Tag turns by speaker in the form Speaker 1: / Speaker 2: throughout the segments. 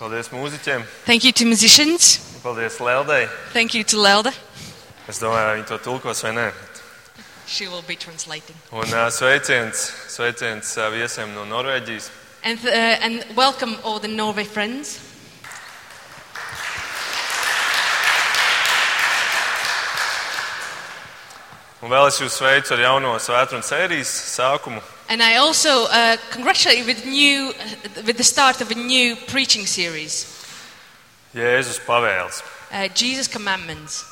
Speaker 1: Paldies mūziķiem,
Speaker 2: Thank you to musicians.
Speaker 1: paldies Leldai.
Speaker 2: Thank you to Lelda.
Speaker 1: Es domāju, vai viņi to tulkos vai nē.
Speaker 2: She will be translating.
Speaker 1: Un uh, sveiciens, sveiciens uh, viesiem no Norvēģijas.
Speaker 2: And, uh, and welcome all the Norway friends.
Speaker 1: Un vēl es jūs sveicu ar jauno svētdienas sērijas sākumu.
Speaker 2: And I also uh, congratulate you with, new, uh, with the start of a new preaching series,
Speaker 1: Jēzus pavēles.
Speaker 2: uh, Jesus Commandments.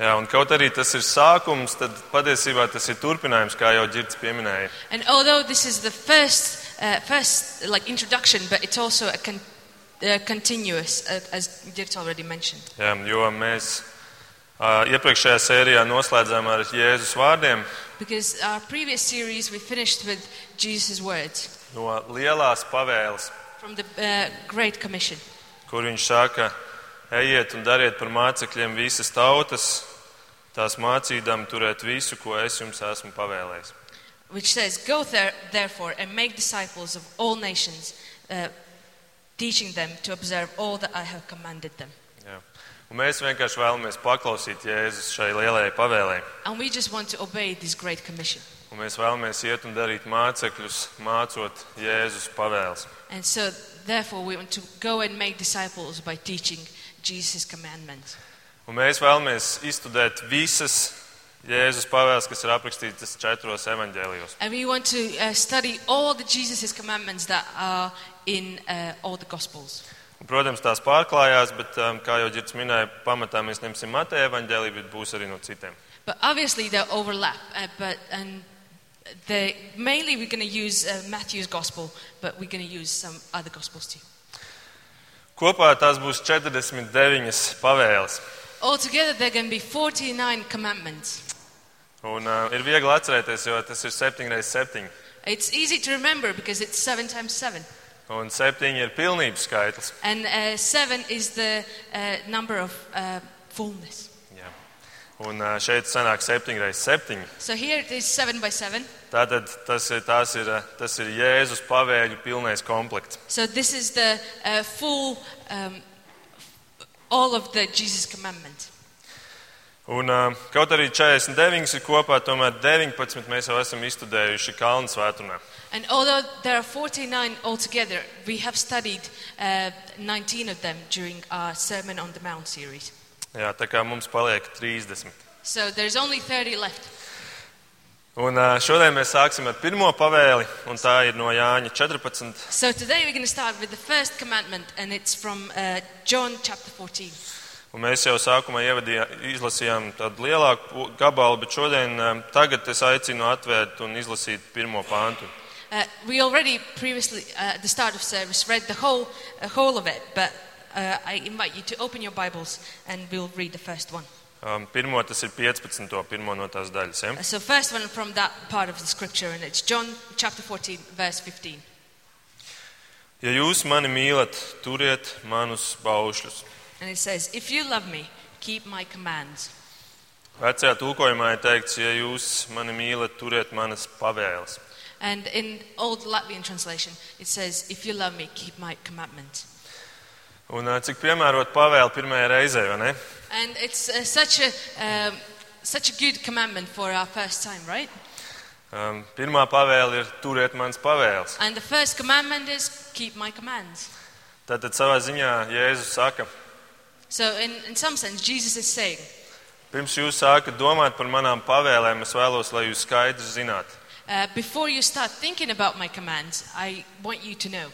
Speaker 1: Jā, un kaut arī tas ir sākums, tad patiesībā tas ir turpinājums, kā jau Girts pieminēja.
Speaker 2: And although this is the first, uh, first like introduction, but it's also a con- uh, continuous, uh, as Dirk already mentioned.
Speaker 1: Jā, jo mēs uh, iepriekšējā sērijā noslēdzām ar Jēzus vārdiem
Speaker 2: Because our previous series we finished with Jesus' words
Speaker 1: no lielās pavēles,
Speaker 2: from the uh, Great Commission,
Speaker 1: kur viņš saka, ejiet un dariet par mācekļiem visas tautas, tās mācīdām turēt visu, ko es jums esmu pavēlējis.
Speaker 2: which says, Go there, therefore and make disciples of all nations, uh, teaching them to observe all that I have commanded them.
Speaker 1: Jā. Un mēs vienkārši vēlamies paklausīt Jēzus šai lielajai pavēlei.
Speaker 2: And we just want to obey this Great Commission.
Speaker 1: Un mēs vēlamies iet un darīt mācekļus, mācot Jēzus pavēles.
Speaker 2: And so, therefore, we want to go and make disciples by teaching Jesus' commandments.
Speaker 1: Un mēs vēlamies izstudēt visas Jēzus pavēles, kas ir aprakstītas četros evaņģēlijos.
Speaker 2: And we want to uh, study all the Jesus' commandments that are in uh, all the Gospels.
Speaker 1: Un, Protams, tās pārklājās, bet, um, kā jau Girts minēja, pamatā mēs ņemsim Mateja evaņģēliju, bet būs arī no citiem.
Speaker 2: But obviously, they overlap. Uh, but and they, mainly, we're going to use uh, Matthew's Gospel, but we're going to use some other Gospels too.
Speaker 1: Kopā tās būs 49 pavēles.
Speaker 2: Altogether, there are going to be 49 commandments.
Speaker 1: Un, uh, ir viegli atcerēties, jo tas ir 7 x 7.
Speaker 2: It's easy to remember because it's 7 times 7.
Speaker 1: Un 7 ir pilnības skaitlis.
Speaker 2: And uh, 7 is the uh, number of uh, fullness.
Speaker 1: Jā. Un uh, šeit sanāk 7 x 7.
Speaker 2: So here it is 7 by 7.
Speaker 1: Tātad tas ir, tās ir, uh, tas ir Jēzus pavēļu pilnais komplekts.
Speaker 2: So this is the uh, full, um, all of the Jesus commandment.
Speaker 1: Un, uh, kaut arī 49 ir kopā, tomēr 19 mēs jau esam izstudējuši Kalnu svētdienā.
Speaker 2: And although there are 49 altogether, we have studied uh, 19 of them during our Sermon on the Mount series.
Speaker 1: Jā, tā kā mums paliek 30.
Speaker 2: So there's only 30 left.
Speaker 1: Un, uh, šodien mēs sāksim ar pirmo pavēli, un tā ir no Jāņa 14.
Speaker 2: So today we're going to start with the first commandment, and it's from uh, John chapter 14.
Speaker 1: Un mēs jau sākumā ievadījā, izlasījām tādu lielāku po- gabalu, bet šodien um, tagad es aicinu atvērt un izlasīt pirmo pāntu.
Speaker 2: Uh, we already previously, uh, at the start of service, read the whole, uh, whole of it, but uh, I invite you to open your Bibles and we'll read the first one.
Speaker 1: Um, pirmo tas ir 15. pirmo no tās daļas. Ja?
Speaker 2: Uh, So, first one from that part of the scripture, and it's John chapter 14, verse 15.
Speaker 1: ja jūs mani mīlat, turiet manus baušļus.
Speaker 2: And it says, If you love me, keep my commands.
Speaker 1: Vecajā tulkojumā ir teikts, ja jūs mani mīlat, turiet manas pavēles.
Speaker 2: And in Old Latvian translation, it says, If you love me, keep my commandment.
Speaker 1: Un, ā, cik piemērot pavēli pirmajai reizei, vai ne?
Speaker 2: And it's uh, such, a, um, such a good commandment for our first time, right?
Speaker 1: Um, pirmā pavēle ir turiet manas pavēles.
Speaker 2: And the first commandment is, Keep my commands.
Speaker 1: Tātad savā ziņā Jēzus saka,
Speaker 2: So, in, in some sense, Jesus is saying,
Speaker 1: pirms jūs sākat domāt par manām pavēlēm, es vēlos, lai jūs skaidri zināt,
Speaker 2: uh, Before you start thinking about my commands, I want you to know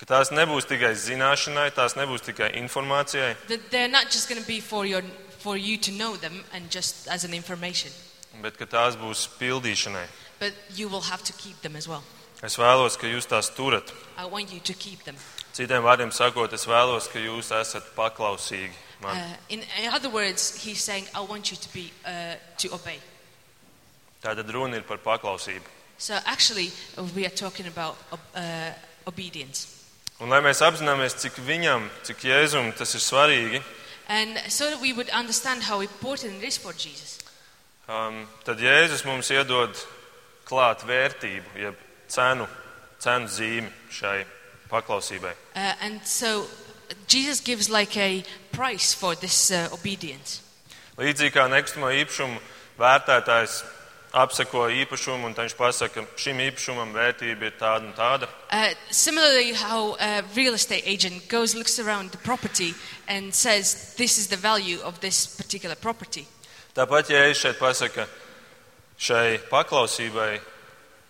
Speaker 1: ka tās nebūs tikai zināšanai, tās nebūs tikai informācijai,
Speaker 2: that they're not just going to be for your for you to know them and just as an information
Speaker 1: bet ka tās būs pildīšanai.
Speaker 2: but you will have to keep them as well
Speaker 1: Es vēlos, ka jūs tās turat.
Speaker 2: i want you to keep them
Speaker 1: Citiem vārdiem sakot, es vēlos, ka jūs esat paklausīgi man.
Speaker 2: uh, in, in other words he's saying i want you to be uh, to obey
Speaker 1: Tātad runa ir par paklausību.
Speaker 2: so actually uh, we are talking about ob- uh, obedience
Speaker 1: Un lai mēs apzināmies, cik viņam, cik Jēzum tas ir svarīgi,
Speaker 2: and so that we would understand how important it is for jesus
Speaker 1: um, tad Jēzus mums iedod klāt vērtību, jeb cenu, cenu zīmi šai paklausībai.
Speaker 2: Uh, and so Jesus gives like a price for this uh, obedience.
Speaker 1: Līdzīgi kā nekustamo īpašumu vērtētājs apseko īpašumu un tad viņš pasaka, ka šim īpašumam vērtība ir tāda un tāda.
Speaker 2: Uh, similarly, how a real estate agent goes, looks around the property and says, this is the value of this particular property.
Speaker 1: Tāpat, ja es šeit pasaku, šai paklausībai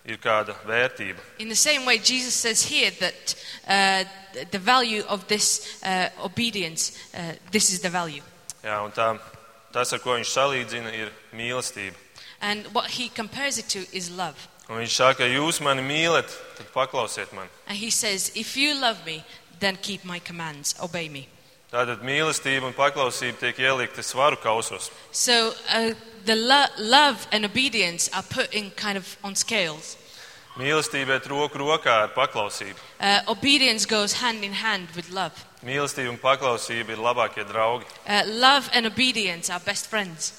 Speaker 1: ir kāda vērtība.
Speaker 2: In the same way, Jesus says here that uh, th- the value of this uh, obedience, uh, this is the value.
Speaker 1: Jā, un tā, tas, ar ko viņš salīdzina, ir mīlestība.
Speaker 2: And what he compares it to is love.
Speaker 1: Un viņš saka, ja jūs mani mīlat, tad paklausiet man.
Speaker 2: And he says, if you love me, then keep my commands, obey me.
Speaker 1: Tātad mīlestība un paklausība tiek ielikta svaru kausos.
Speaker 2: So uh, the lo- love and obedience are put in kind of on scales.
Speaker 1: Mīlestība iet roku rokā ar paklausību.
Speaker 2: Uh, obedience goes hand in hand with love.
Speaker 1: Mīlestība un paklausība ir labākie draugi.
Speaker 2: Uh, love and obedience are best friends.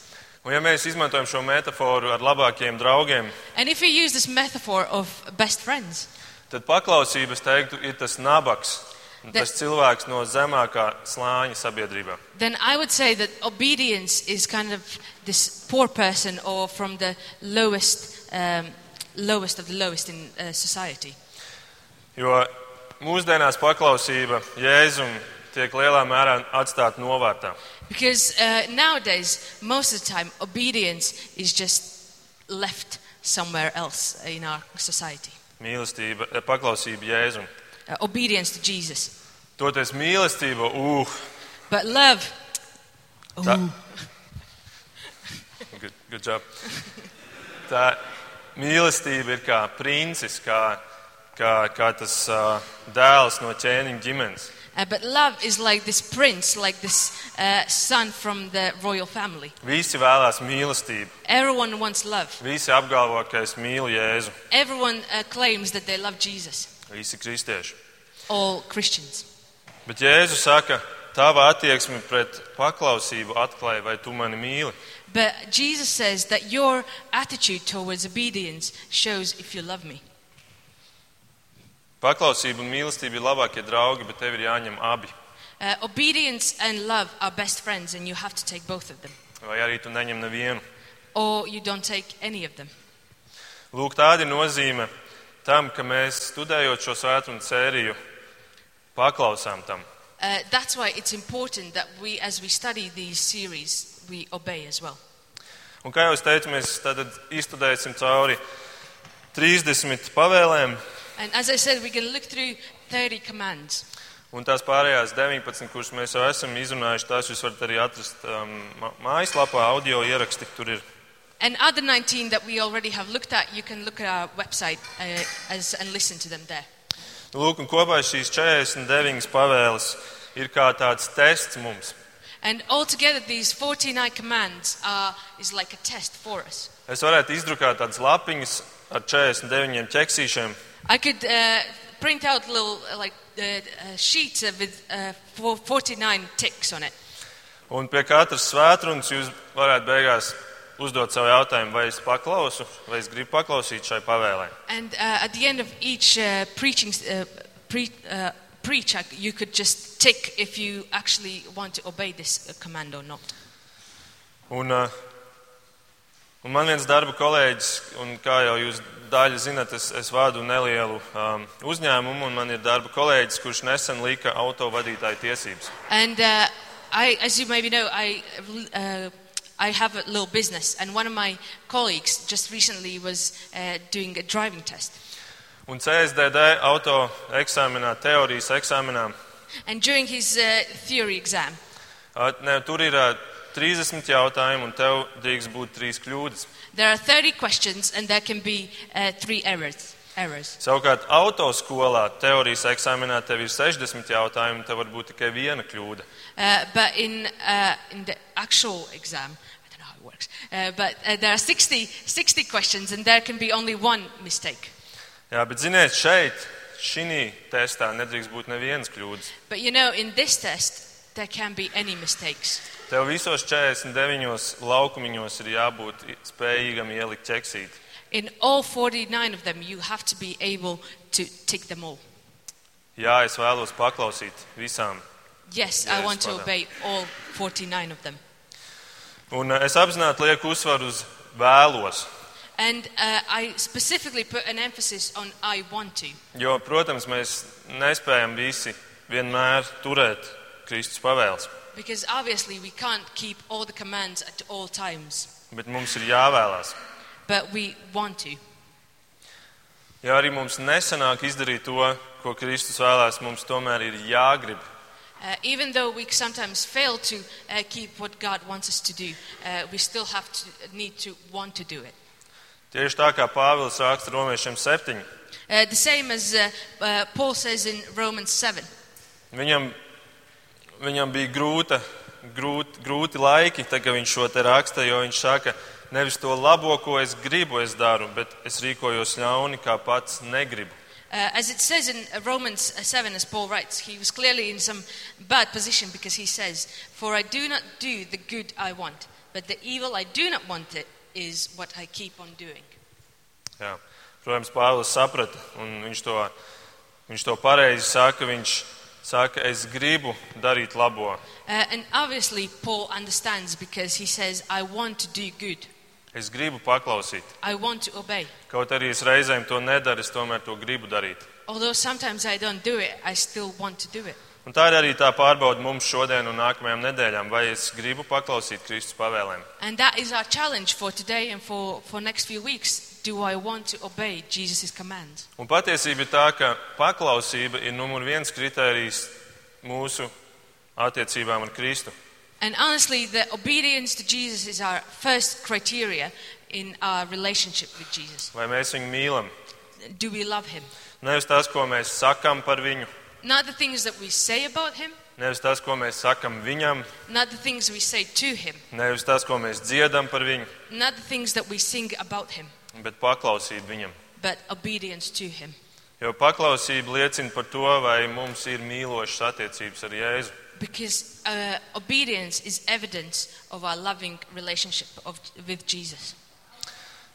Speaker 1: Un ja mēs izmantojam šo metaforu ar labākiem draugiem,
Speaker 2: And if you use this metaphor of best friends,
Speaker 1: tad paklausības teiktu ir tas nabaks, un tas cilvēks no zemākā slāņa sabiedrībā.
Speaker 2: then I would say that obedience is kind of this poor person or from the lowest, um, lowest of the lowest in uh, society.
Speaker 1: Jo mūsdienās paklausība Jēzum tiek lielā mērā atstāta novārtā.
Speaker 2: Because uh, nowadays, most of the time, obedience is just left somewhere else in our society.
Speaker 1: Mīlestība, eh, paklausība Jēzum.
Speaker 2: Uh, obedience to Jesus.
Speaker 1: Toties mīlestība, uh,
Speaker 2: But love,
Speaker 1: tā, good, good job. tā mīlestība ir kā princis, kā, kā, kā tas uh, dēls no ķēniņa ģimenes.
Speaker 2: uh, but love is like this prince, like this uh, son from the royal family.
Speaker 1: Visi vēlās mīlestību.
Speaker 2: Everyone wants love.
Speaker 1: Visi apgalvo, ka es mīlu Jēzu.
Speaker 2: Everyone uh, claims that they love Jesus.
Speaker 1: Visi kristieši.
Speaker 2: All Christians.
Speaker 1: Bet Jēzu saka, tava attieksme pret paklausību atklāja, vai tu mani mīli.
Speaker 2: But Jesus says that your attitude towards obedience shows if you love me.
Speaker 1: Paklausība un mīlestība ir labākie draugi, bet tev ir jāņem abi.
Speaker 2: Uh, obedience and love are best friends, and you have to take both of them,
Speaker 1: Vai arī tu neņem nevienu.
Speaker 2: or you don't take any of them.
Speaker 1: Lūk, tāda ir nozīme tam, ka mēs studējot šo svētdienu sēriju, paklausām tam.
Speaker 2: Uh, that's why it's important that we, as we study these series, we obey as well.
Speaker 1: Un kā jau es teicu, mēs tad izstudēsim cauri 30 pavēlēm,
Speaker 2: And as I said, we're going to look through 30 commands.
Speaker 1: Un tās pārējās 19, kuras mēs jau esam izrunājuši, tās jūs varat arī atrast um, ma- mājaslapā, audio ieraksti tur ir.
Speaker 2: And other 19 that we already have looked at, you can look at our website uh, as, and listen to them there.
Speaker 1: Nu, Lūk, un kopā šīs 49 pavēles ir kā tāds tests mums.
Speaker 2: And altogether, these 49 commands are, is like a test for us.
Speaker 1: Es varētu izdrukāt tādas lapiņas ar 49 ķeksīšiem,
Speaker 2: I could uh, print out little uh, like uh, uh, sheets uh, with uh, four- 49 ticks on it.
Speaker 1: un pie katras svētrunas jūs varētu beigās uzdot savu jautājumu, vai es paklausu, vai es gribu paklausīt šai pavēlē.
Speaker 2: And uh, at the end of each uh, preaching uh, pre- uh, preach, I- you could just tick if you actually want to obey this uh, command or not.
Speaker 1: Un, uh, un man viens darba kolēģis, un kā jau jūs daļa zinat, es, es vadu nelielu um, uzņēmumu, un man ir darba kolēģis, kurš nesen lika autovadītāju tiesības.
Speaker 2: And uh, I, as you maybe know, I. Uh, I have a little business, and one of my colleagues just recently was uh, doing a driving test.
Speaker 1: Un CSDD auto eksāmenā, teorijas eksāmenā,
Speaker 2: And during his uh, theory exam,
Speaker 1: uh, ne, tur ir uh, 30 jautājumu, un tev drīkst būt 3 kļūdas.
Speaker 2: There are 30 questions and there can be uh, three errors. errors.
Speaker 1: Savukārt autoskolā teorijas eksāmenā tev ir 60 jautājumu, un tev var būt tikai viena kļūda.
Speaker 2: Uh, but in, uh, in the actual exam, I don't know how it works, uh, but uh, there are 60, 60 questions and there can be only one mistake.
Speaker 1: Jā, bet ziniet, šeit, šī testā nedrīkst būt nevienas kļūdas.
Speaker 2: But you know, in this test, there can be any mistakes.
Speaker 1: Tev visos 49 laukumiņos ir jābūt spējīgam ielikt ķeksīti.
Speaker 2: In all 49 of them, you have to be able to tick them all.
Speaker 1: Jā, es vēlos paklausīt visām.
Speaker 2: Yes,
Speaker 1: Yes,
Speaker 2: I want to
Speaker 1: Father.
Speaker 2: obey all 49 of them.
Speaker 1: Un uh, es apzināti lieku uzsvaru uz vēlos.
Speaker 2: And uh, I specifically put an emphasis on I want to.
Speaker 1: Jo, protams, mēs nespējam visi vienmēr turēt Kristus pavēles,
Speaker 2: Because obviously we can't keep all the commands at all times,
Speaker 1: bet mums ir jāvēlās.
Speaker 2: but we want to.
Speaker 1: Ja arī mums nesanāk izdarīt to, ko Kristus vēlēs, mums tomēr ir jāgrib.
Speaker 2: Uh, even though we sometimes fail to uh, keep what God wants us to do, uh, we still have to need to want to do it.
Speaker 1: Tieši tā kā Pāvils raksta romiešiem septiņi.
Speaker 2: Uh, the same as uh, uh, Paul says in Romans 7.
Speaker 1: Viņam, viņam bija grūta, grūt, grūti laiki, tad, kad viņš šo te raksta, jo viņš saka, nevis to labo, ko es gribu, es daru, bet es rīkojos ļauni, kā pats negribu.
Speaker 2: Uh, as it says in uh, Romans uh, 7, as Paul writes, he was clearly in some bad position because he says, For I do not do the good I want, but the evil I do not want it is what I keep on doing.
Speaker 1: Jā. Protams, Pāvils saprata, un viņš to, viņš to pareizi saka. Viņš saka, es gribu darīt labo,
Speaker 2: Uh, and obviously, Paul understands because he says, I want to do good,
Speaker 1: es gribu paklausīt.
Speaker 2: I want to obey.
Speaker 1: Kaut arī es reizēm to nedaru, es tomēr to gribu darīt.
Speaker 2: Although sometimes I don't do it, I still want to do it.
Speaker 1: Un tā ir arī tā pārbauda mums šodien un nākamajām nedēļām, vai es gribu paklausīt Kristus pavēlēm.
Speaker 2: And that is our challenge for today and for, for next few weeks. Do I want to obey Jesus' command?
Speaker 1: Un patiesība ir tā, ka paklausība ir numur viens kritērijs mūsu attiecībām ar Kristu.
Speaker 2: And honestly, the obedience to Jesus is our first criteria in our relationship with Jesus.
Speaker 1: Vai mēs viņu mīlam?
Speaker 2: Do we love him?
Speaker 1: Nevis tas, ko mēs sakam par viņu,
Speaker 2: Not the things that we say about him,
Speaker 1: nevis tas, ko mēs sakam viņam,
Speaker 2: not the things we say to him,
Speaker 1: nevis tas, ko mēs dziedam par viņu,
Speaker 2: not the things that we sing about him,
Speaker 1: bet paklausība viņam.
Speaker 2: but obedience to him.
Speaker 1: Jo paklausība liecina par to, vai mums ir mīlošas attiecības ar Jēzu.
Speaker 2: Because uh, obedience is evidence of our loving relationship of, with Jesus.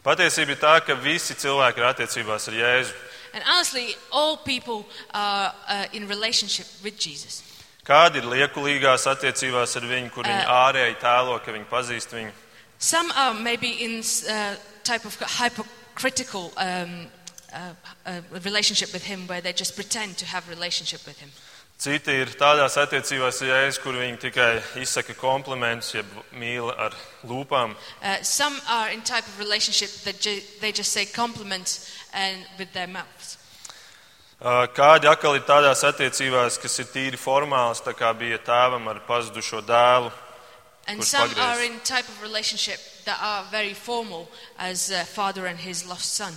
Speaker 1: Patiesība ir tā, ka visi cilvēki ir attiecībās ar Jēzu.
Speaker 2: And honestly, all people are uh, in relationship with Jesus.
Speaker 1: Kādi ir liekulīgās attiecībās ar viņu, kur viņi
Speaker 2: Ē.
Speaker 1: ārēji tēlo, ka viņi pazīst viņu?
Speaker 2: Some are maybe in uh, type of hypocritical um, uh, uh, relationship with him, where they just pretend to have relationship with him.
Speaker 1: Citi ir tādās attiecībās, ja es, kur viņi tikai izsaka komplimentus, jeb mīl ar lūpām.
Speaker 2: Uh, some are in type of relationship that ju- they just say compliments and with their mouths.
Speaker 1: Uh, Kādi atkal ir tādās attiecībās, kas ir tīri formāls, tā kā bija tēvam ar pazudušo dēlu.
Speaker 2: And
Speaker 1: Good
Speaker 2: some
Speaker 1: fuck
Speaker 2: are
Speaker 1: this.
Speaker 2: in type of relationship that are very formal, as uh, father and his lost son.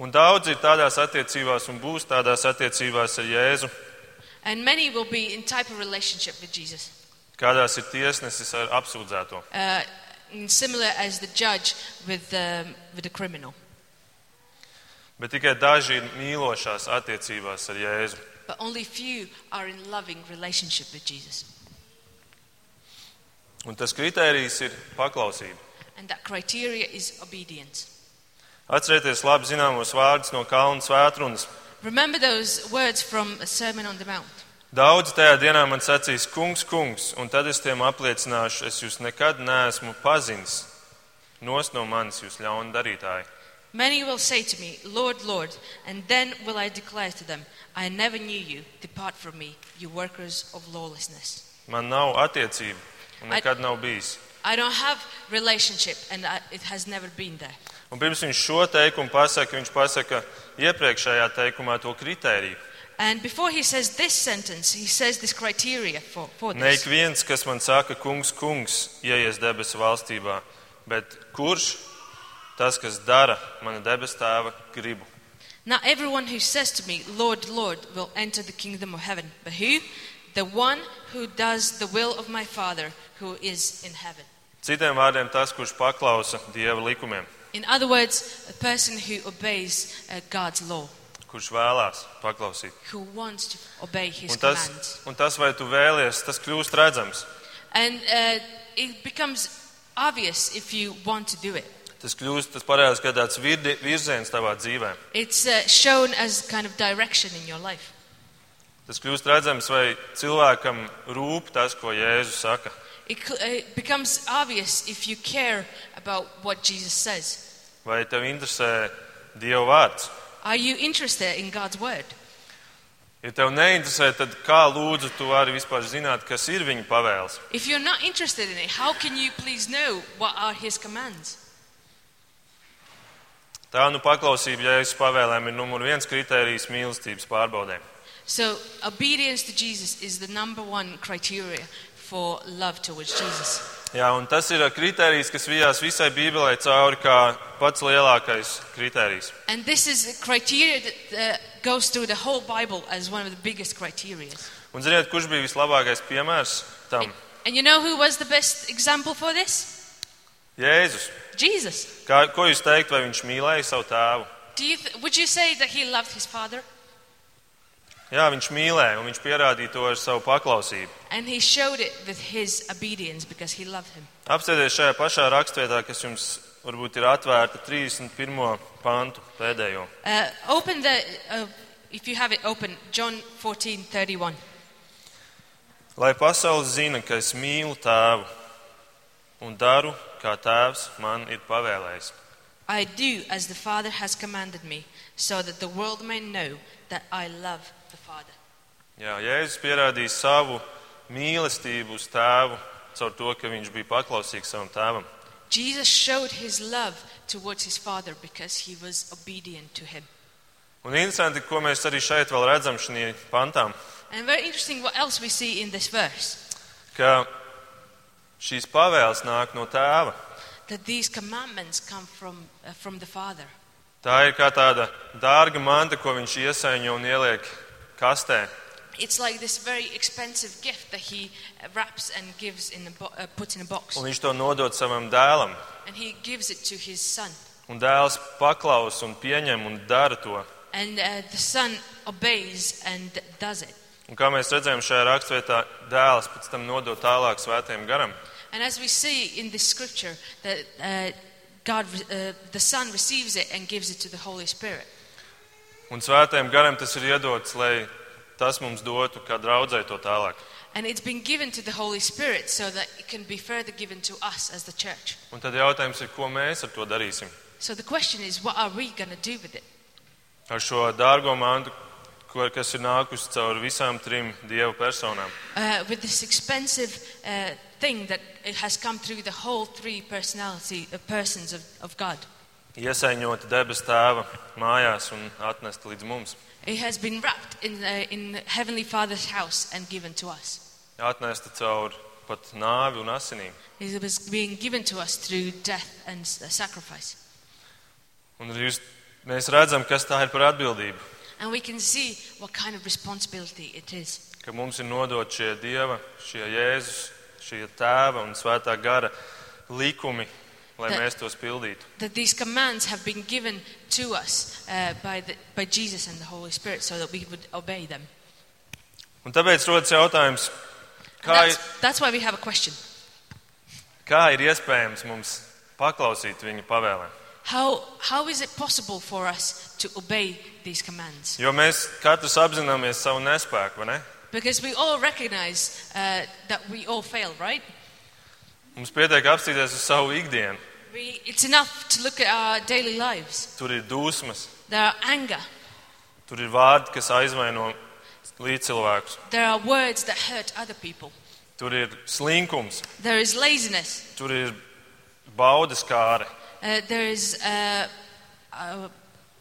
Speaker 1: Un daudz ir tādās attiecībās un būs tādās attiecībās ar Jēzu,
Speaker 2: And many will be in type of relationship with Jesus,
Speaker 1: kādās ir tiesnesis ar apsūdzēto.
Speaker 2: uh, and similar as the judge with the, with the criminal.
Speaker 1: Bet tikai daži ir mīlošās attiecībās ar Jēzu.
Speaker 2: But only few are in loving relationship with Jesus.
Speaker 1: Un tas kritērijs ir paklausība.
Speaker 2: And that criteria is obedience.
Speaker 1: Atcerieties labi zināmos vārdus no Kalnu svētrunas.
Speaker 2: Remember those words from a Sermon on the Mount.
Speaker 1: Daudz tajā dienā man sacīs, kungs, kungs, un tad es tiem apliecināšu, es jūs nekad neesmu pazinis. Nos no manis jūs ļauni darītāji.
Speaker 2: Many will say to me, Lord, Lord, and then will I declare to them, I never knew you. Depart from me, you workers of lawlessness.
Speaker 1: Man nav attiecību, un nekad nav bijis.
Speaker 2: I don't have relationship, and I, it has never been there.
Speaker 1: Un pirms viņš šo teikumu pasaka, viņš pasaka iepriekšējā teikumā to kritēriju.
Speaker 2: And before he says this sentence, he says this criteria for, for
Speaker 1: Ne
Speaker 2: this.
Speaker 1: ik viens, kas man saka, kungs, kungs, ieies debesu valstībā, bet kurš tas, kas dara mana debesu tēva gribu?
Speaker 2: Not everyone who says to me, Lord, Lord, will enter the kingdom of heaven, but who? The one who does the will of my Father who is in heaven.
Speaker 1: Citiem vārdiem, tas, kurš paklausa dieva likumiem,
Speaker 2: In other words, a person who obeys uh, God's law,
Speaker 1: kurš vēlās paklausīt.
Speaker 2: who wants to obey his
Speaker 1: Un tas,
Speaker 2: commands.
Speaker 1: un tas, vai tu vēlies, tas kļūst redzams.
Speaker 2: And uh, it becomes obvious if you want to do it.
Speaker 1: Tas kļūst, tas parādās kā tāds virdi- virziens tavā dzīvē.
Speaker 2: It's uh, shown as kind of direction in your life.
Speaker 1: Tas kļūst redzams, vai cilvēkam rūp tas, ko Jēzus saka.
Speaker 2: It, cl- uh, it becomes obvious if you care about what Jesus says.
Speaker 1: Vai tev interesē Dieva vārds?
Speaker 2: Are you interested in God's word?
Speaker 1: Ja tev neinteresē, tad kā lūdzu tu vari vispār zināt, kas ir viņa pavēles?
Speaker 2: If you're not interested in it, how can you please know what are his commands?
Speaker 1: Tā nu paklausība Jēzus pavēlēm ir numur viens kritērijs mīlestības pārbaudē.
Speaker 2: So, obedience to Jesus is the number one criteria for love towards Jesus.
Speaker 1: Jā, un tas ir eh, kritērijs, kas vijās visai Bībelē cauri kā pats lielākais kritērijs.
Speaker 2: And this is a criteria that uh, goes through the whole Bible as one of the biggest criteria.
Speaker 1: Un ziniet, kurš bija vislabākais piemērs tam?
Speaker 2: And you know who was the best example for this?
Speaker 1: Jēzus.
Speaker 2: Jesus.
Speaker 1: Kā, ko jūs teikt, vai viņš mīlēja savu tēvu?
Speaker 2: Do you th- would you say that he loved his father?
Speaker 1: Jā, viņš mīlēja, un viņš pierādīja to ar savu paklausību.
Speaker 2: And he showed it with his obedience because he loved him.
Speaker 1: Apsēdies šajā pašā rakstvietā, kas jums varbūt ir atvērta 31. pantu pēdējo.
Speaker 2: Uh, open the, uh, if you have it open, John 14 31.
Speaker 1: Lai pasaule zina, ka es mīlu tēvu un daru, kā tēvs man ir pavēlējis.
Speaker 2: I do as the Father has commanded me, so that the world may know that I love the Father.
Speaker 1: Jā, Jēzus pierādīja savu mīlestību uz tēvu caur to, ka viņš bija paklausīgs savam tēvam.
Speaker 2: Jesus showed his love towards his Father because he was obedient to him.
Speaker 1: Un interesanti, ko mēs arī šeit vēl redzam šajā pantā,
Speaker 2: And very interesting what else we see in this verse
Speaker 1: ka šīs pavēles nāk no tēva.
Speaker 2: that these commandments come from, uh, from the Father.
Speaker 1: Tā ir kā tāda dārga manta, ko viņš iesaiņo un ieliek kastē.
Speaker 2: It's like this very expensive gift that he uh, wraps and gives in a bo- uh, puts in a box,
Speaker 1: Un viņš to nodod savam dēlam.
Speaker 2: and he gives it to his son.
Speaker 1: Un dēls paklausa un pieņem un dara to.
Speaker 2: And uh, the son obeys and does it.
Speaker 1: Un kā mēs redzējām šajā raksturvietā, dēls pēc tam nodod tālāk svētajam garam.
Speaker 2: And as we see in this scripture, that uh, God, uh, the Son receives it and gives it to the Holy Spirit.
Speaker 1: Un svētajam garam tas ir iedots, lai tas mums dotu, kā draudzē to tālāk.
Speaker 2: And it's been given to the Holy Spirit so that it can be further given to us as the church.
Speaker 1: Un tad jautājums ir, ko mēs ar to darīsim?
Speaker 2: So the question is, what are we going to do with it?
Speaker 1: Ar šo dārgo mantu, ko- kas ir nākusi cauri visām trim dievu personām.
Speaker 2: Uh, with this expensive uh, thing that it has come through the whole three personality uh, persons of, of God.
Speaker 1: Iesaiņot debes tēva mājās un atnest līdz mums.
Speaker 2: It has been wrapped in, uh, in Heavenly Father's house and given to us.
Speaker 1: Atnesta cauri pat nāvi un asinīm.
Speaker 2: It was being given to us through death and s- uh, sacrifice.
Speaker 1: Un jūs, mēs redzam, kas tā ir par atbildību.
Speaker 2: And we can see what kind of responsibility it is.
Speaker 1: Ka mums ir nodot šie dieva, šie Jēzus, šie tēva un svētā gara likumi, lai
Speaker 2: Tad-
Speaker 1: mēs tos pildītu.
Speaker 2: That these commands have been given to us uh, by, the, by Jesus and the Holy Spirit so that we would obey them.
Speaker 1: Un tāpēc rodas jautājums,
Speaker 2: And
Speaker 1: kā, ir-
Speaker 2: that's, that's why we have a question.
Speaker 1: kā ir iespējams mums paklausīt viņa pavēlēm?
Speaker 2: How, how is it possible for us to obey these commands?
Speaker 1: Jo mēs katrs apzināmies savu nespēku, vai ne?
Speaker 2: Because we all recognize uh, that we all fail, right?
Speaker 1: Mums pietiek apstīties uz savu ikdienu.
Speaker 2: We, it's enough to look at our daily lives.
Speaker 1: Tur ir dusmas,
Speaker 2: There are anger,
Speaker 1: tur ir vārdi, kas aizvaino līdzcilvēkus,
Speaker 2: there are words that hurt other people,
Speaker 1: tur ir slinkums,
Speaker 2: there is laziness,
Speaker 1: tur ir baudas kāri,
Speaker 2: uh, there is. Uh, uh,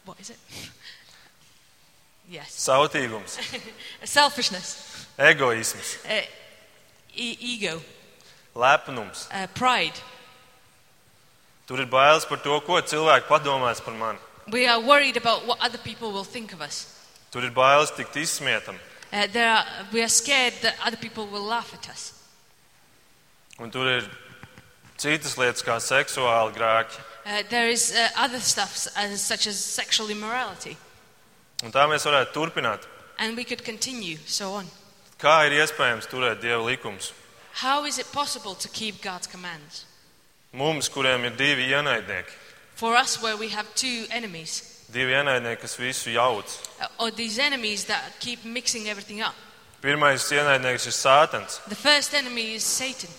Speaker 2: what is it? yes.
Speaker 1: sautīgums,
Speaker 2: Selfishness,
Speaker 1: egoisms,
Speaker 2: uh, e- ego,
Speaker 1: lepnums.
Speaker 2: uh, pride.
Speaker 1: Tur ir bailes par to, ko cilvēki padomās par mani.
Speaker 2: We are worried about what other people will think of us.
Speaker 1: Tur ir bailes tikt izsmietam,
Speaker 2: Uh, there are, we are scared that other people will laugh at us.
Speaker 1: un tur ir citas lietas, kā seksuāli grēki.
Speaker 2: Uh, there is uh, other stuff as, such as sexual immorality.
Speaker 1: Un tā mēs varētu turpināt.
Speaker 2: And we could continue so on.
Speaker 1: Kā ir iespējams turēt dievu likumus?
Speaker 2: How is it possible to keep God's commands?
Speaker 1: Mums, kuriem ir divi ienaidnieki,
Speaker 2: For us, where we have two enemies,
Speaker 1: Divi ienaidnieki, kas visu jauc.
Speaker 2: uh, or these enemies that keep mixing everything up.
Speaker 1: Pirmais ienaidnieks ir sātans,
Speaker 2: The first enemy is Satan.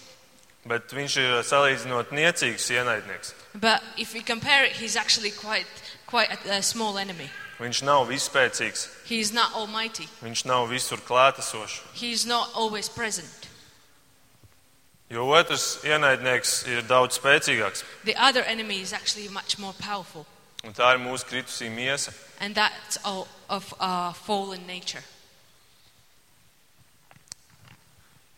Speaker 1: bet viņš ir salīdzinot niecīgs ienaidnieks.
Speaker 2: But if we compare it, he's actually quite, quite a, a small enemy.
Speaker 1: Viņš nav vispēcīgs,
Speaker 2: He is not almighty.
Speaker 1: viņš nav visur klātesošs.
Speaker 2: He is not always present.
Speaker 1: Jo otrs ienaidnieks ir daudz spēcīgāks,
Speaker 2: The other enemy is actually much more powerful,
Speaker 1: un tā ir mūsu kritusī miesa.
Speaker 2: and that's all of our fallen nature.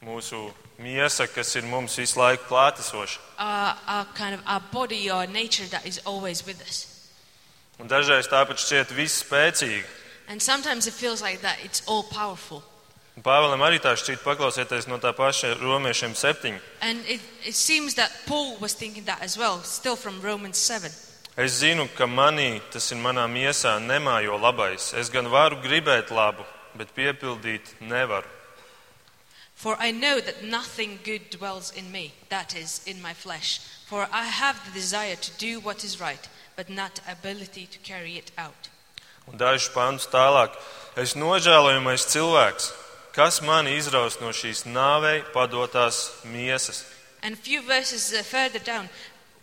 Speaker 1: Mūsu miesa, kas ir mums visu laiku klātesoša.
Speaker 2: Our, our kind of our body, our nature that is always with us.
Speaker 1: Un dažreiz tāpat šķiet viss spēcīgi.
Speaker 2: And sometimes it feels like that it's all powerful.
Speaker 1: Un Pāvēlam arī tā šķiet, paklausieties no tā paša romiešiem septiņi.
Speaker 2: And it, it seems that Paul was thinking that as well, still from Romans 7.
Speaker 1: Es zinu, ka manī, tas ir manā miesā, nemājo labais. Es gan varu gribēt labu, bet piepildīt nevaru.
Speaker 2: For I know that nothing good dwells in me, that is, in my flesh. For I have the desire to do what is right, but not ability to carry it out.
Speaker 1: Un dažus pantus tālāk, es nožēlojamais cilvēks, kas mani izraus no šīs nāvei padotās miesas.
Speaker 2: And a few verses uh, further down,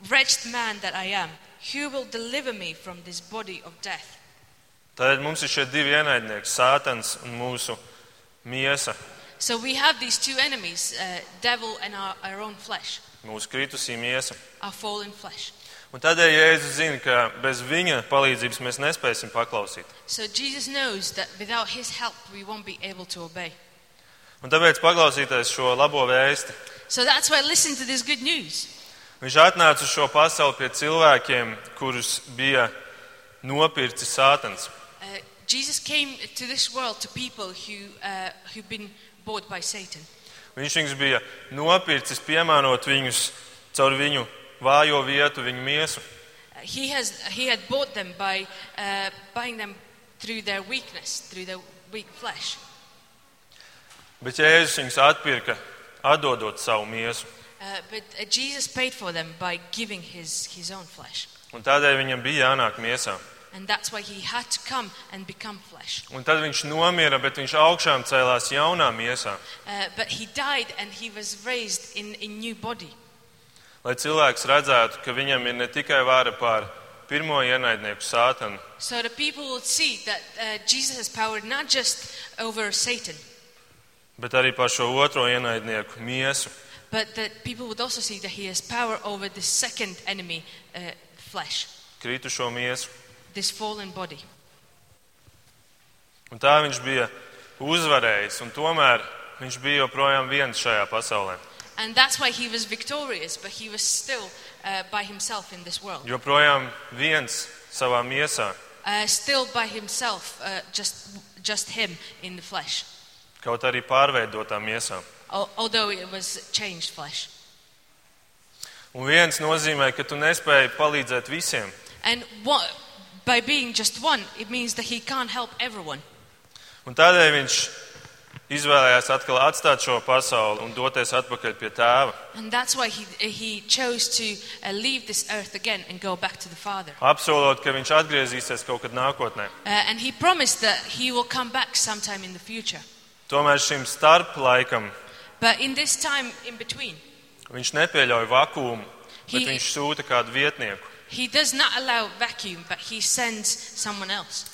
Speaker 2: wretched man that I am, who will deliver me from this body of death?
Speaker 1: Tad mums ir šie divi ienaidnieki, sātans un mūsu miesa,
Speaker 2: So we have these two enemies, uh, devil and our, our own flesh,
Speaker 1: mūsu kritusī miesa.
Speaker 2: our fallen flesh.
Speaker 1: Un tādēļ Jēzus zina, ka bez viņa palīdzības mēs nespēsim paklausīt.
Speaker 2: So Jesus knows that without his help, we won't be able to obey.
Speaker 1: Un tāpēc paklausīties šo labo vēsti.
Speaker 2: So that's why listen to this good news.
Speaker 1: Viņš atnāca uz šo pasauli pie cilvēkiem, kurus bija nopircis sātans.
Speaker 2: Uh, Jesus came to this world to people who uh, who've been bought by Satan.
Speaker 1: Viņš viņus bija nopircis, piemērot viņus caur viņu vājo vietu, viņu miesu.
Speaker 2: Uh, he has he had bought them by uh, buying them through their weakness, through their weak flesh.
Speaker 1: Bet Jēzus viņus atpirka, atdodot savu miesu.
Speaker 2: Uh, but uh, Jesus paid for them by giving his his own flesh,
Speaker 1: Un tādēļ viņam bija jānāk miesā.
Speaker 2: and that's why he had to come and become flesh.
Speaker 1: Un tad viņš nomira, bet viņš augšām cēlās jaunā miesā,
Speaker 2: Uh, but he died and he was raised in a new body,
Speaker 1: lai cilvēks redzētu, ka viņam ir ne tikai vāra pār pirmo ienaidnieku sātanu,
Speaker 2: so the people would see that uh, Jesus has power not just over Satan,
Speaker 1: bet arī pār šo otro ienaidnieku miesu.
Speaker 2: But that people would also see that he has power over the second enemy, uh, flesh,
Speaker 1: kritušo miesu.
Speaker 2: this fallen body.
Speaker 1: Un tā viņš bija uzvarējis, un tomēr viņš bija joprojām viens šajā pasaulē.
Speaker 2: And that's why he was victorious, but he was still uh, by himself in this world,
Speaker 1: Joprojām viens savā miesā,
Speaker 2: uh, still by himself, uh, just, just him in the flesh,
Speaker 1: kaut arī pārveidotā miesā.
Speaker 2: al- although it was changed flesh.
Speaker 1: Un viens nozīmē, ka tu nespēji palīdzēt visiem.
Speaker 2: And what, by being just one, it means that he can't help everyone.
Speaker 1: Un tādēļ viņš izvēlējās atkal atstāt šo pasauli un doties atpakaļ pie tēva,
Speaker 2: And that's why he, he chose to uh, leave this earth again and go back to the Father.
Speaker 1: apsolot, ka viņš atgriezīsies kaut kad nākotnē.
Speaker 2: Uh, and he promised that he will come back sometime in the future.
Speaker 1: Tomēr šim starplaikam
Speaker 2: But in this time in between,
Speaker 1: viņš nepieļauj vakumu, bet
Speaker 2: He-
Speaker 1: viņš sūta kādu vietnieku.
Speaker 2: he does not allow vacuum, but he sends someone else.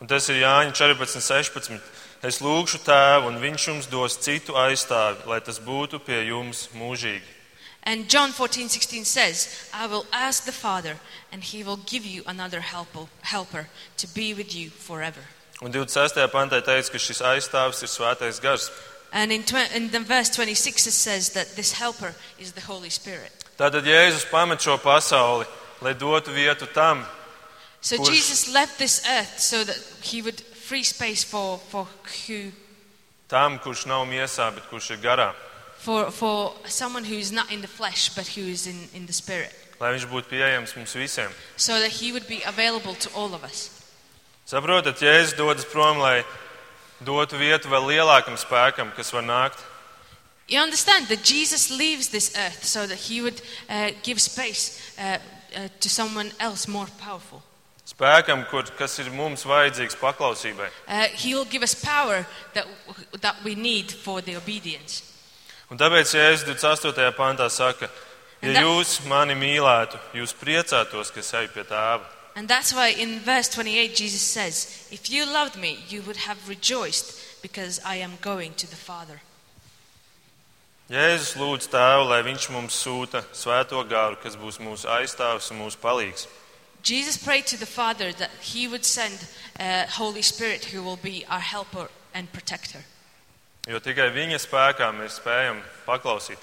Speaker 1: Un tas ir Jāņa 14.16. Es lūgšu tēvu, un viņš jums dos citu aizstāvi, lai tas būtu pie jums mūžīgi.
Speaker 2: And John 14, 16 says, I will ask the Father, and he will give you another helper, helper to be with you forever.
Speaker 1: Un 26. pantā teica, ka šis aizstāvis ir svētais gars.
Speaker 2: And in, tw- in the verse 26, it says that this helper is the Holy Spirit.
Speaker 1: Tātad Jēzus pamet šo pasauli, lai dotu vietu tam,
Speaker 2: So
Speaker 1: Course.
Speaker 2: Jesus left this earth so that he would free space for, for, who,
Speaker 1: tam, kurš nav miesā, bet kurš ir garā,
Speaker 2: for, for someone who is not in the flesh, but who is in, in the spirit.
Speaker 1: lai viņš būtu pieejams mums visiem.
Speaker 2: so that he would be available to all of us.
Speaker 1: Saprotat, Jēzus dodas prom, lai dotu vietu vēl lielākam spēkam, kas var nākt.
Speaker 2: You understand that Jesus leaves this earth so that he would uh, give space uh, uh, to someone else more powerful.
Speaker 1: Spēkam, kur, kas ir mums vajadzīgs paklausībai.
Speaker 2: Uh, he will give us power that, that we need for the obedience.
Speaker 1: Un tāpēc Jēzus 28. pantā saka, ja jūs mani mīlētu, jūs priecātos, ka es eju pie tēva.
Speaker 2: And that's why in verse 28 Jesus says, If you loved me, you would have rejoiced because I am going to the Father.
Speaker 1: Jēzus lūdz tēvu, lai viņš mums sūta svēto gāru, kas būs mūsu aizstāvis un mūsu palīgs.
Speaker 2: Jesus prayed to the Father that he would send uh, Holy Spirit who will be our helper and protector.
Speaker 1: Jo tikai viņa spēkā mēs spējam paklausīt.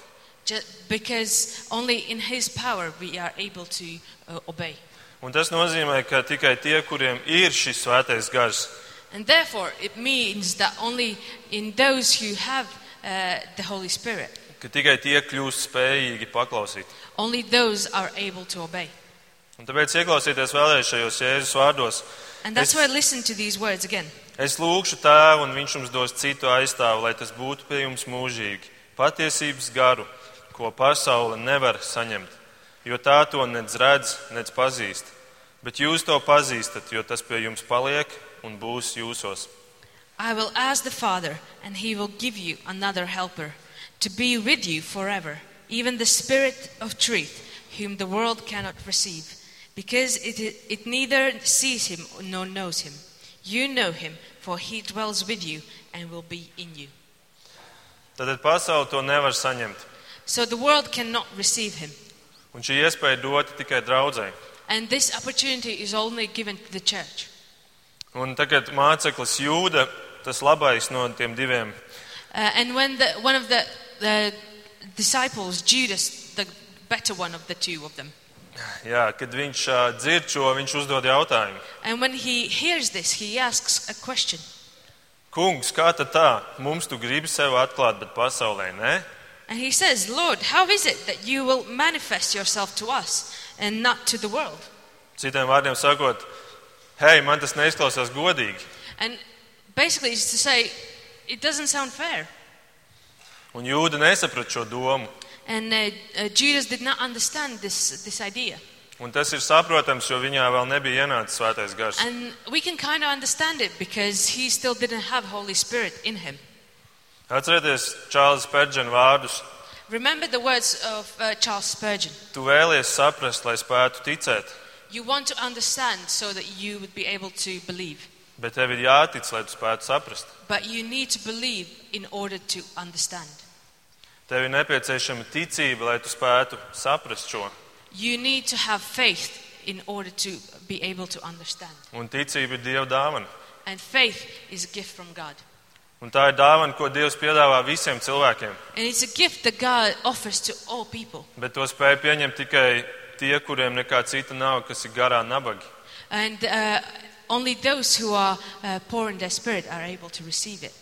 Speaker 2: Ju- because only in his power we are able to uh, obey.
Speaker 1: Un tas nozīmē, ka tikai tie, kuriem ir šis svētais gars,
Speaker 2: And therefore, it means that only in those who have uh, the Holy Spirit,
Speaker 1: ka tikai tie kļūst spējīgi paklausīt.
Speaker 2: only those are able to obey.
Speaker 1: Un tāpēc ieklausieties vēlreiz šajos Jēzus vārdos.
Speaker 2: And that's
Speaker 1: Es-
Speaker 2: why listen to these words again.
Speaker 1: Es lūgšu tēvu, un viņš jums dos citu aizstāvu, lai tas būtu pie jums mūžīgi. Patiesības garu, ko pasaule nevar saņemt, jo tā to nedz redz, nedz pazīst. Bet jūs to pazīstat, jo tas pie jums paliek un būs jūsos.
Speaker 2: I will ask the Father, and he will give you another helper to be with you forever, even the Spirit of truth, whom the world cannot receive, because it, it neither sees him nor knows him. You know him, for he dwells with you and will be in you.
Speaker 1: Tad pasaule to nevar saņemt.
Speaker 2: So the world cannot receive him.
Speaker 1: Un šī iespēja dota tikai draudzē.
Speaker 2: And this opportunity is only given to the church.
Speaker 1: Un tagad māceklis Jūda, tas labais no tiem diviem,
Speaker 2: Uh, and when the, one of the, the disciples, Judas, the better one of the two of them,
Speaker 1: jā, kad viņš ā, dzird šo, viņš uzdod jautājumu.
Speaker 2: And when he hears this, he asks a question
Speaker 1: Kungs, kā tad tā? Mums tu gribi sevi atklāt, bet pasaulē nē.
Speaker 2: and he says, Lord, how is it that you will manifest yourself to us and not to the world?
Speaker 1: Citiem vārdiem sakot, hei, man tas neizklausās godīgi.
Speaker 2: And basically, it's to say, it doesn't sound fair.
Speaker 1: Un jūda nesaprata šo domu.
Speaker 2: And uh, uh, Judas did not understand this, this idea.
Speaker 1: Un tas ir saprotams, jo viņā vēl nebija ienācis svētais gars.
Speaker 2: And we can kind of understand it because he still didn't have Holy Spirit in him.
Speaker 1: Atcerieties Čārlis Pērģena vārdus.
Speaker 2: Remember the words of uh, Charles Spurgeon
Speaker 1: Tu vēlies saprast, lai spētu ticēt,
Speaker 2: You want to understand so that you would be able to believe,
Speaker 1: bet tev ir jātic, lai tu spētu saprast.
Speaker 2: but you need to believe in order to understand.
Speaker 1: Tev ir nepieciešama ticība, lai tu spētu saprast šo.
Speaker 2: You need to have faith in order to be able to understand.
Speaker 1: Un ticība ir Dieva dāvana.
Speaker 2: And faith is a gift from God.
Speaker 1: Un tā ir dāvana, ko Dievs piedāvā visiem cilvēkiem,
Speaker 2: And it's a gift that God offers to all people.
Speaker 1: bet to spēja pieņemt tikai tie, kuriem nekā cita nav, kas ir garā nabagi.
Speaker 2: And uh, only those who are uh, poor in their spirit are able to receive it.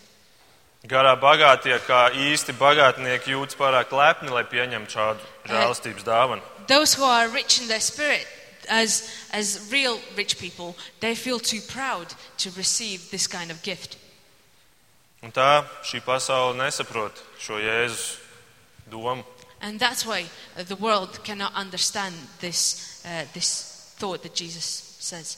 Speaker 1: Garā bagātie, kā īsti bagātnieki, jūtas pārāk lepni, lai pieņemtu šādu žēlastības dāvanu.
Speaker 2: Those who are rich in their spirit, as, as real rich people, they feel too proud to receive this kind of gift.
Speaker 1: Un tā šī pasaule nesaprot šo Jēzus domu.
Speaker 2: And that's why uh, the world cannot understand this, uh, this thought that Jesus says.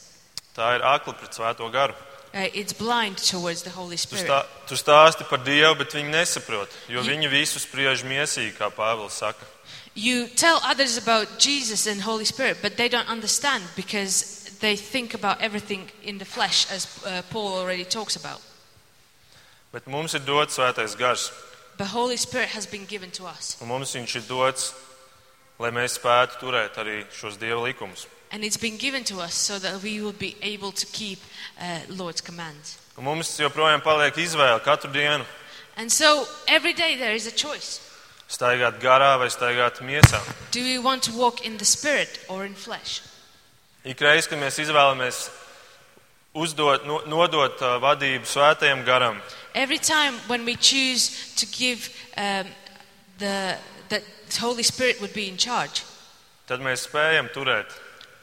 Speaker 1: Tā ir akla pret svēto garu.
Speaker 2: Uh, it's blind towards the Holy
Speaker 1: Tu,
Speaker 2: Spirit.
Speaker 1: stā, tu stāsti par Dievu, bet viņi nesaprot, jo viņi visu spriež miesīgi, kā Pāvils saka.
Speaker 2: You tell others about Jesus and Holy Spirit, but they don't understand because they think about everything in the flesh, as uh, Paul already talks about.
Speaker 1: Bet mums ir dots svētais gars,
Speaker 2: But Holy Spirit has been given to us,
Speaker 1: un mums viņš ir dots, lai mēs spētu turēt arī šos Dieva likumus.
Speaker 2: and it's been given to us so that we will be able to keep uh, Lord's commands.
Speaker 1: Un mums joprojām paliek izvēle katru dienu
Speaker 2: And so every day there is a choice:
Speaker 1: staigāt garā vai staigāt miesā.
Speaker 2: do we want to walk in the Spirit or in flesh?
Speaker 1: Ik reiz, kad mēs izvēlamies uzdot, no- nodot ā, vadību svētajam garam,
Speaker 2: Every time when we choose to give um, the that Holy Spirit would be in charge.
Speaker 1: tad mēs spējam turēt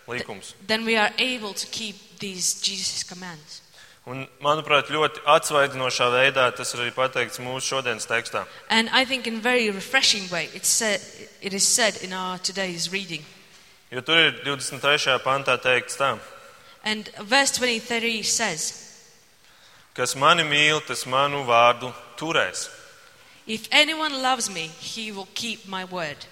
Speaker 1: likumus.
Speaker 2: then we are able to keep these Jesus commands.
Speaker 1: Un, manuprāt, ļoti atsvaidzinošā veidā tas ir arī pateikts mūsu šodienas tekstā.
Speaker 2: And I think in very refreshing way, it's said, it is said in our today's reading.
Speaker 1: Jo tur ir 23. pantā teikts tā,
Speaker 2: And verse 23 says,
Speaker 1: Kas mani mīl, tas manu vārdu turēs.
Speaker 2: If anyone loves me, he will keep my word.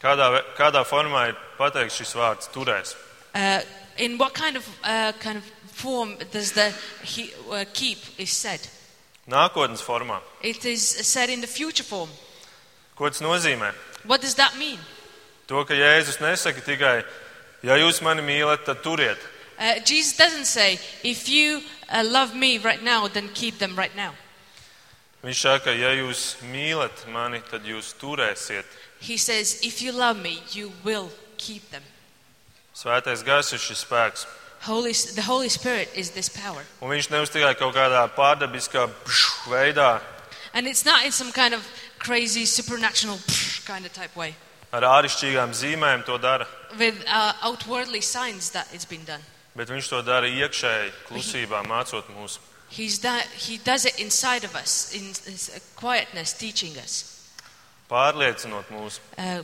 Speaker 1: Kādā, ve- kādā formā ir pateikts šis vārds - turēs?
Speaker 2: Uh, in what kind of, uh, kind of form does the he, uh, keep is said?
Speaker 1: Nākotnes formā.
Speaker 2: It is said in the future form.
Speaker 1: Ko tas nozīmē?
Speaker 2: What does that mean?
Speaker 1: To, ka Jēzus nesaka tikai, ja jūs mani mīlat, tad turiet.
Speaker 2: Uh, Jesus doesn't say, if you uh, love me right now, then keep them right now.
Speaker 1: Viņš saka, ja jūs mīlat mani, tad jūs turēsiet.
Speaker 2: He says, if you love me, you will keep them.
Speaker 1: Svētais gars ir šis spēks.
Speaker 2: Holy, the Holy Spirit is this power.
Speaker 1: Un viņš nevis tikai kaut kādā pārdabiskā pšu veidā
Speaker 2: And it's not in some kind of crazy supernatural kind of type way
Speaker 1: ar āršķirīgām zīmēm to dara,
Speaker 2: with uh, outwardly signs that it's been done.
Speaker 1: bet viņš to dara iekšēji, klusībā, mācot mūs.
Speaker 2: He's that, he does it inside of us, in his quietness, teaching us,
Speaker 1: Pārliecinot mūs,
Speaker 2: uh,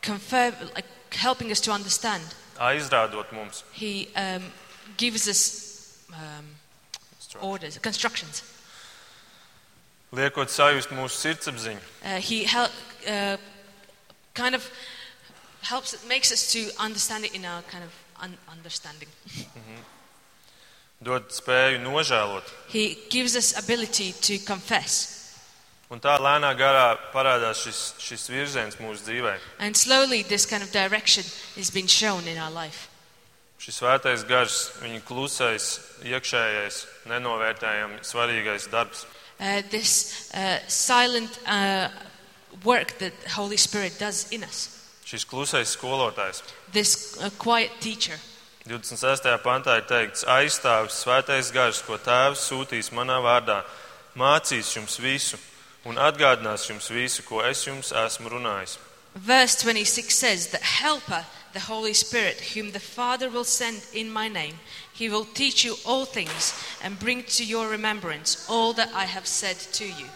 Speaker 2: confirm, like, helping us to understand.
Speaker 1: aizrādot mums.
Speaker 2: He um, gives us um, orders, constructions.
Speaker 1: Liekot sajust mūsu sirdsapziņu,
Speaker 2: Uh, he hel- uh, kind of helps, makes us to understand it in our kind of un- understanding.
Speaker 1: dod spēju nožēlot.
Speaker 2: He gives us ability to confess.
Speaker 1: Un tā lēnā garā parādās šis, šis virziens mūsu dzīvē.
Speaker 2: And slowly, this kind of direction is being shown in our life.
Speaker 1: Šis svētais gars, viņa klusais, iekšējais, nenovērtējami svarīgais darbs.
Speaker 2: Uh, this uh, silent uh, work that the Holy Spirit does in us,
Speaker 1: Šis klusais skolotājs.
Speaker 2: this uh, quiet teacher.
Speaker 1: 26. pantā ir teikts, aizstāvis svētais gars, ko tēvs sūtīs manā vārdā, mācīs jums visu un atgādinās jums visu, ko es jums esmu runājis.
Speaker 2: Verse 26 says, The Helper, the Holy Spirit, whom the Father will send in my name, he will teach you all things and bring to your remembrance all that I have said to you.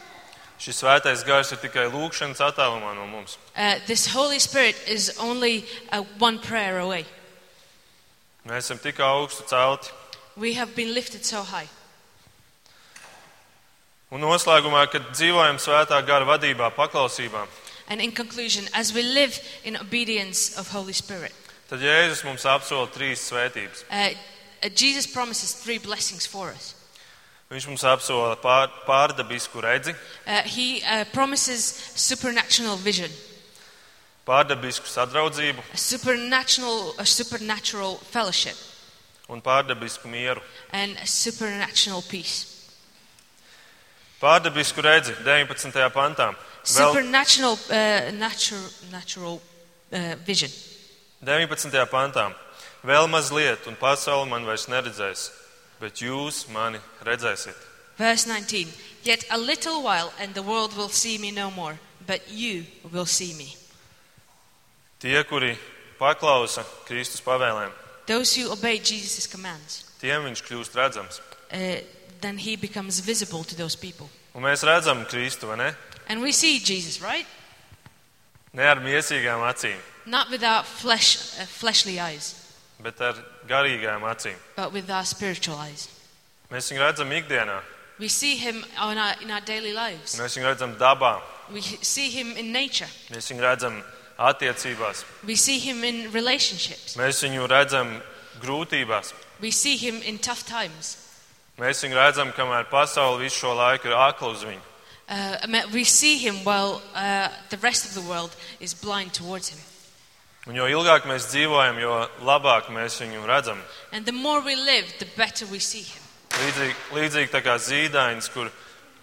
Speaker 1: Šis svētais gars ir tikai lūkšanas attālumā no mums.
Speaker 2: Uh, this Holy Spirit is only uh, one prayer away.
Speaker 1: Mēs esam tik augstu celti.
Speaker 2: We have been lifted so high.
Speaker 1: Un noslēgumā, kad dzīvojam svētā gara vadībā, paklausībā,
Speaker 2: And in conclusion, as we live in obedience of Holy Spirit,
Speaker 1: tad Jēzus mums apsola trīs svētības.
Speaker 2: uh, uh, Jesus promises three blessings for us.
Speaker 1: Viņš mums apsola pār, pārdabisku redzi,
Speaker 2: Uh, he uh, promises supernatural vision.
Speaker 1: pārdabisku sadraudzību
Speaker 2: a supernatural, a supernatural fellowship
Speaker 1: un pārdabisku mieru.
Speaker 2: and a supernatural peace.
Speaker 1: Pārdabisku redzi 19. pantā. Vēl
Speaker 2: Supernatural, uh, natural, natural uh, vision.
Speaker 1: 19. pantā. Vēl mazliet, un pasaule man vairs neredzēs, bet jūs mani redzēsiet.
Speaker 2: Verse 19. Yet a little while, and the world will see me no more, but you will see me.
Speaker 1: Tie, kuri paklausa Kristus pavēlēm,
Speaker 2: Those who obey Jesus' commands,
Speaker 1: tiem viņš kļūst redzams.
Speaker 2: uh, then he becomes visible to those people.
Speaker 1: Un mēs redzam Kristu, vai ne?
Speaker 2: And we see Jesus, right?
Speaker 1: Ne ar miesīgām acīm,
Speaker 2: Not with our flesh, uh, fleshly eyes,
Speaker 1: bet ar garīgām acīm.
Speaker 2: but with our spiritual eyes.
Speaker 1: Mēs viņu redzam ikdienā,
Speaker 2: We see him on our, in our daily lives.
Speaker 1: mēs viņu redzam dabā,
Speaker 2: We see him in nature.
Speaker 1: mēs viņu redzam attiecībās,
Speaker 2: We see him in relationships.
Speaker 1: mēs viņu redzam grūtībās,
Speaker 2: We see him in tough times.
Speaker 1: mēs viņu redzam, kamēr pasaule visu šo laiku ir akla uz viņu.
Speaker 2: Uh, I mean, we see him while uh, the rest of the world is blind towards him.
Speaker 1: Un jo ilgāk mēs dzīvojam, jo labāk mēs viņu redzam.
Speaker 2: And the more we live, the better we see him.
Speaker 1: Līdzīgi, līdzīgi tā kā zīdainis, kur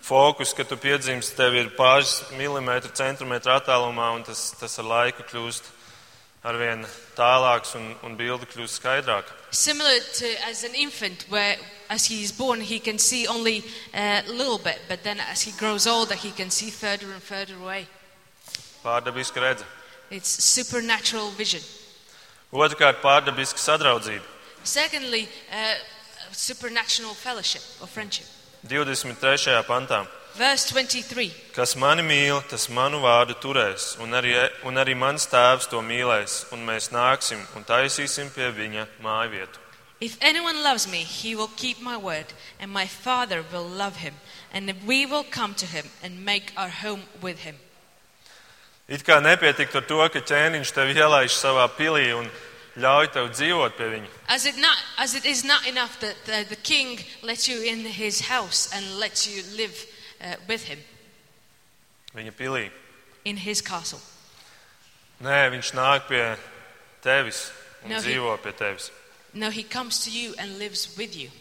Speaker 1: fokus, kad tu piedzimsti, tev ir pāris milimetru, centimetru attālumā, un tas, tas ar laiku kļūst arvien tālāks un, un bilde kļūst skaidrāka.
Speaker 2: Similar to as an infant, where as he is born, he can see only a little bit, but then as he grows older, he can see further and further away.
Speaker 1: Pārdabiska redze.
Speaker 2: It's supernatural vision.
Speaker 1: Otrakārt, pārdabiska sadraudzība.
Speaker 2: Secondly, uh, supernatural fellowship or friendship.
Speaker 1: 23. pantā.
Speaker 2: Verse 23.
Speaker 1: Kas mani mīl, tas manu vārdu turēs, un arī, un arī mans tēvs to mīlēs, un mēs nāksim un taisīsim pie viņa māju vietu.
Speaker 2: If anyone loves me, he will keep my word, and my Father will love him, and we will come to him and make our home with him.
Speaker 1: It kā nepietiktu ar to, ka ķēniņš tevi ielaiž savā pilī un ļauj tev dzīvot pie viņa.
Speaker 2: As it, not, as it is not enough that the, the king lets you in his house and lets you live uh, with him
Speaker 1: Viņa pilī.
Speaker 2: in his castle.
Speaker 1: Nē, viņš nāk pie tevis un
Speaker 2: Nav viņa.
Speaker 1: dzīvo pie tevis.
Speaker 2: No, he comes to you and lives with you.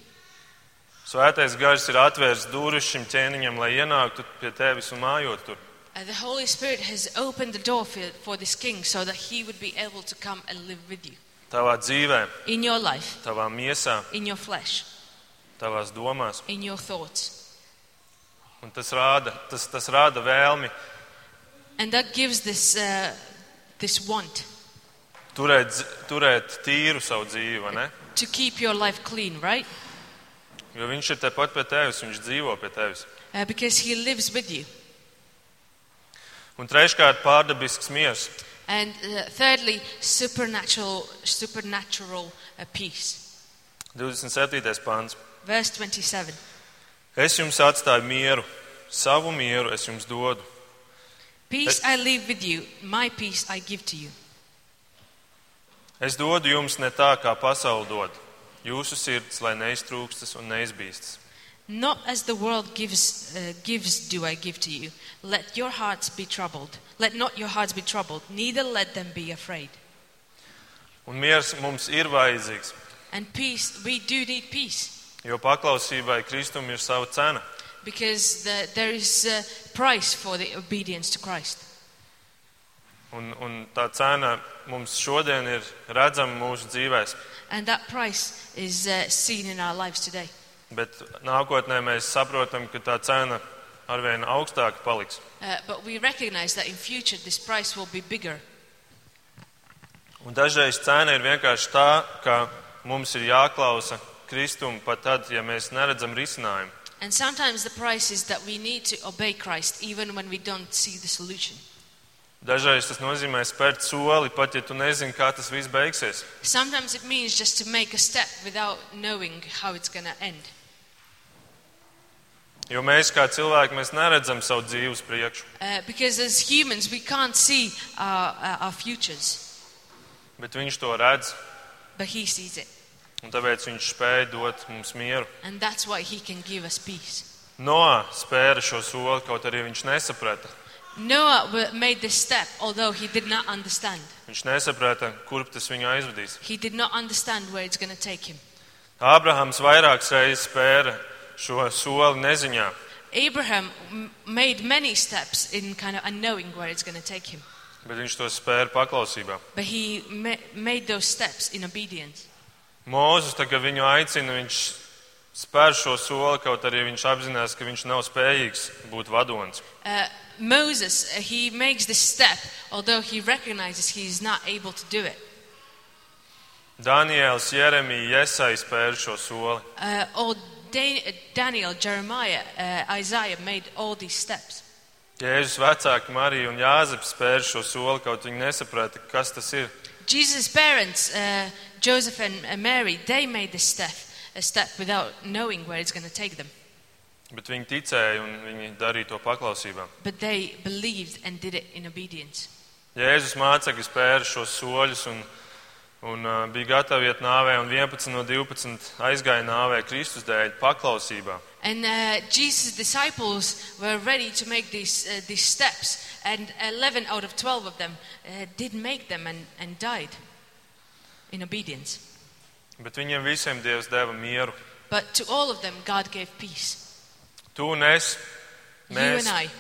Speaker 1: Svētais gars ir atvērts durvis šim ķēniņam, lai ienāktu pie tevis un mājot tur.
Speaker 2: Uh, the Holy Spirit has opened the door for, for this king so that he would be able to come and live with you
Speaker 1: Tavā dzīvē,
Speaker 2: in your life,
Speaker 1: tavā miesā,
Speaker 2: in your flesh,
Speaker 1: tavās domās.
Speaker 2: in your thoughts.
Speaker 1: Un tas rāda, tas, tas rāda vēlmi
Speaker 2: And that gives this, uh, this want
Speaker 1: turēt, dz- turēt tīru savu dzīvi, vai ne?
Speaker 2: to keep your life clean, right?
Speaker 1: Jo viņš ir tepat pie tevis, viņš dzīvo pie tevis.
Speaker 2: Uh, because he lives with you.
Speaker 1: Un treškārt, pārdabisks miers.
Speaker 2: And uh, thirdly, supernatural, supernatural uh, peace.
Speaker 1: 27. pāns.
Speaker 2: Verse 27.
Speaker 1: Es jums atstāju mieru, savu mieru es jums dodu.
Speaker 2: Peace I leave with you, my peace I give to you.
Speaker 1: Es dodu jums ne tā, kā pasaule dod. Jūsu sirds, lai neiztrūkstas un neizbīstas.
Speaker 2: Not as the world gives, uh, gives do I give to you. Let your hearts be troubled. Let not your hearts be troubled, neither let them be afraid.
Speaker 1: Un miers mums ir vajadzīgs,
Speaker 2: And peace, we do need peace
Speaker 1: jo paklausībai Kristum ir sava cena.
Speaker 2: because the, there is a price for the obedience to Christ.
Speaker 1: Un, un tā cena mums šodien ir redzama mūsu dzīvēm,
Speaker 2: And that price is uh, seen in our lives today.
Speaker 1: bet nākotnē mēs saprotam, ka tā cena arvien augstāka paliks.
Speaker 2: Uh, but we recognize that in future this price will be bigger.
Speaker 1: Un dažreiz cena ir vienkārši tā, ka mums ir jāklausa Kristum pat tad, ja mēs neredzam risinājumu.
Speaker 2: And sometimes the price is that we need to obey Christ even when we don't see the solution.
Speaker 1: Dažreiz tas nozīmē spērt soli, pat ja tu nezini, kā tas viss beigsies.
Speaker 2: Sometimes it means just to make a step without knowing how it's going to end.
Speaker 1: Jo mēs kā cilvēki mēs neredzam savu dzīves priekšu,
Speaker 2: Uh, because as humans, we can't see our, uh, our futures,
Speaker 1: bet Viņš to redz,
Speaker 2: but He sees it.
Speaker 1: un tāpēc Viņš spēja dot mums mieru.
Speaker 2: And that's why He can give us peace.
Speaker 1: Noā spēra šo soli, kaut arī viņš nesaprata.
Speaker 2: Noah wa- made this step, although he did not understand.
Speaker 1: Viņš nesaprata, kurp tas viņu aizvedīs.
Speaker 2: He did not understand where it's going to take him.
Speaker 1: Ābrahams vairākas reizes spēra šo soli neziņā,
Speaker 2: Abraham m- made many steps in kind of unknowing where it's going to take him.
Speaker 1: bet viņš to spēra paklausībā.
Speaker 2: But he ma- made those steps in obedience.
Speaker 1: Mūzis, kad viņu aicina, viņš spēr šo soli, kaut arī viņš apzinās, ka viņš nav spējīgs būt vadonis.
Speaker 2: Uh, Moses, uh, he makes this step, although he recognizes he is not able to do it.
Speaker 1: Daniēls, Jeremija, Iesai spēra šo soli.
Speaker 2: Uh, all Dan- uh, Daniel, Jeremiah, uh, Isaiah made all these steps.
Speaker 1: Jēzus vecāki, Marija un Jāzeps spēra šo soli, kaut viņi nesaprata, kas tas ir.
Speaker 2: Jesus' parents, uh, Joseph and uh, Mary, they made this step, a step without knowing where it's going to take them.
Speaker 1: Bet viņi ticēja un viņi darīja to paklausībā.
Speaker 2: But they believed and did it in obedience.
Speaker 1: Jēzus mācekļi spēra šos soļus un, un uh, bija gatavi iet nāvē, un 11 no 12 aizgāja nāvē Kristus dēļ, paklausībā.
Speaker 2: And uh, Jesus' disciples were ready to make these, uh, these steps, and 11 out of 12 of them uh, did make them and, and died in obedience.
Speaker 1: Bet viņiem visiem Dievs deva mieru.
Speaker 2: But to all of them, God gave peace.
Speaker 1: Tu un es, mēs,
Speaker 2: You and I,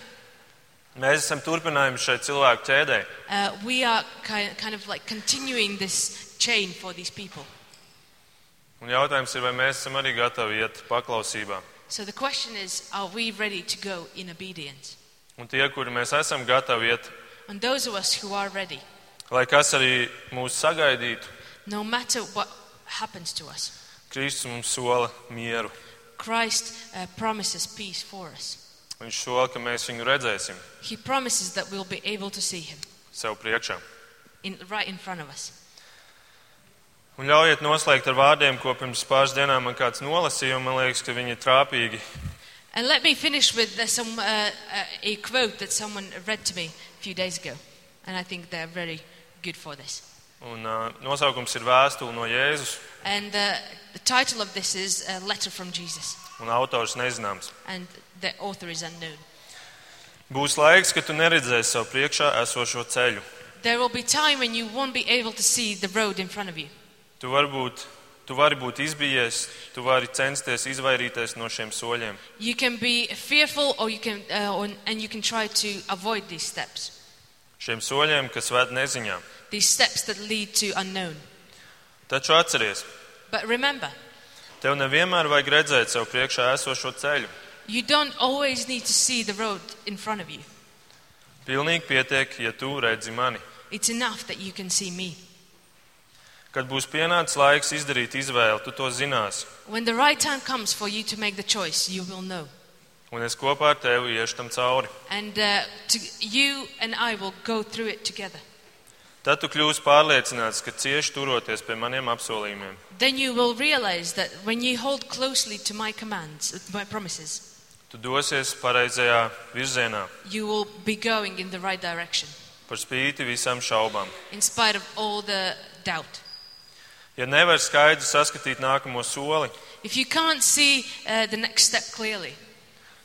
Speaker 1: mēs esam turpinājumi šai cilvēku ķēdē.
Speaker 2: uh, we are ki- kind of like continuing this chain for these people.
Speaker 1: Un jautājums ir, vai mēs esam arī gatavi iet paklausībā.
Speaker 2: So the question is are we ready to go in obedience?
Speaker 1: Un tie, kuri mēs esam gatavi iet,
Speaker 2: And those of us who are ready,
Speaker 1: lai kas arī mūs sagaidītu,
Speaker 2: no matter what happens to us,
Speaker 1: Kristus mums sola mieru.
Speaker 2: Christ uh, promises peace for us.
Speaker 1: Viņš sola, ka mēs viņu redzēsim
Speaker 2: He promises that we'll be able to see him
Speaker 1: sev priekšā.
Speaker 2: in, right in front of us.
Speaker 1: Un ļaujiet noslēgt ar vārdiem, ko pirms pāris dienām man kāds nolasīja, un man liekas, ka viņi ir trāpīgi.
Speaker 2: And let me finish with uh, some, uh, uh, a quote that someone read to me a few days ago. And I think they're very good for this.
Speaker 1: Un, uh, nosaukums ir Vēstule no Jēzus,
Speaker 2: And uh, the title of this is A Letter from Jesus.
Speaker 1: un autors nezināms.
Speaker 2: And the author is unknown.
Speaker 1: Būs laiks, kad tu neredzēsi sev priekšā esošo ceļu.
Speaker 2: There will be time when you won't be able to see the road in front of you.
Speaker 1: Tu, varbūt, tu vari būt izbijies, tu vari censties izvairīties no šiem soļiem.
Speaker 2: You can be fearful, or you can, uh, or, and you can try to avoid these steps,
Speaker 1: Šiem soļiem, kas ved neziņā.
Speaker 2: these steps that lead to unknown.
Speaker 1: Taču atceries,
Speaker 2: But remember,
Speaker 1: tev nevienmēr vajag redzēt sev priekšā esošo ceļu.
Speaker 2: you don't always need to see the road in front of you.
Speaker 1: Pilnīgi pietiek, ja tu redzi mani.
Speaker 2: It's enough that you can see me.
Speaker 1: Kad būs pienācis laiks izdarīt izvēli, tu to zinās,
Speaker 2: When the right time comes for you to make the choice, you will know.
Speaker 1: un es kopā ar tevi iešu tam cauri.
Speaker 2: And uh, to, you and I will go through it together.
Speaker 1: Tad tu kļūsi pārliecināts, ka cieši turoties pie maniem apsolījumiem,
Speaker 2: Then you will realize that when you hold closely to my commands, my promises,
Speaker 1: tu dosies pareizajā virzienā
Speaker 2: you will be going in the right direction,
Speaker 1: par spīti visām šaubām.
Speaker 2: in spite of all the doubt.
Speaker 1: Ja nevar skaidri saskatīt nākamo soli,
Speaker 2: If you can't see uh, the next step clearly,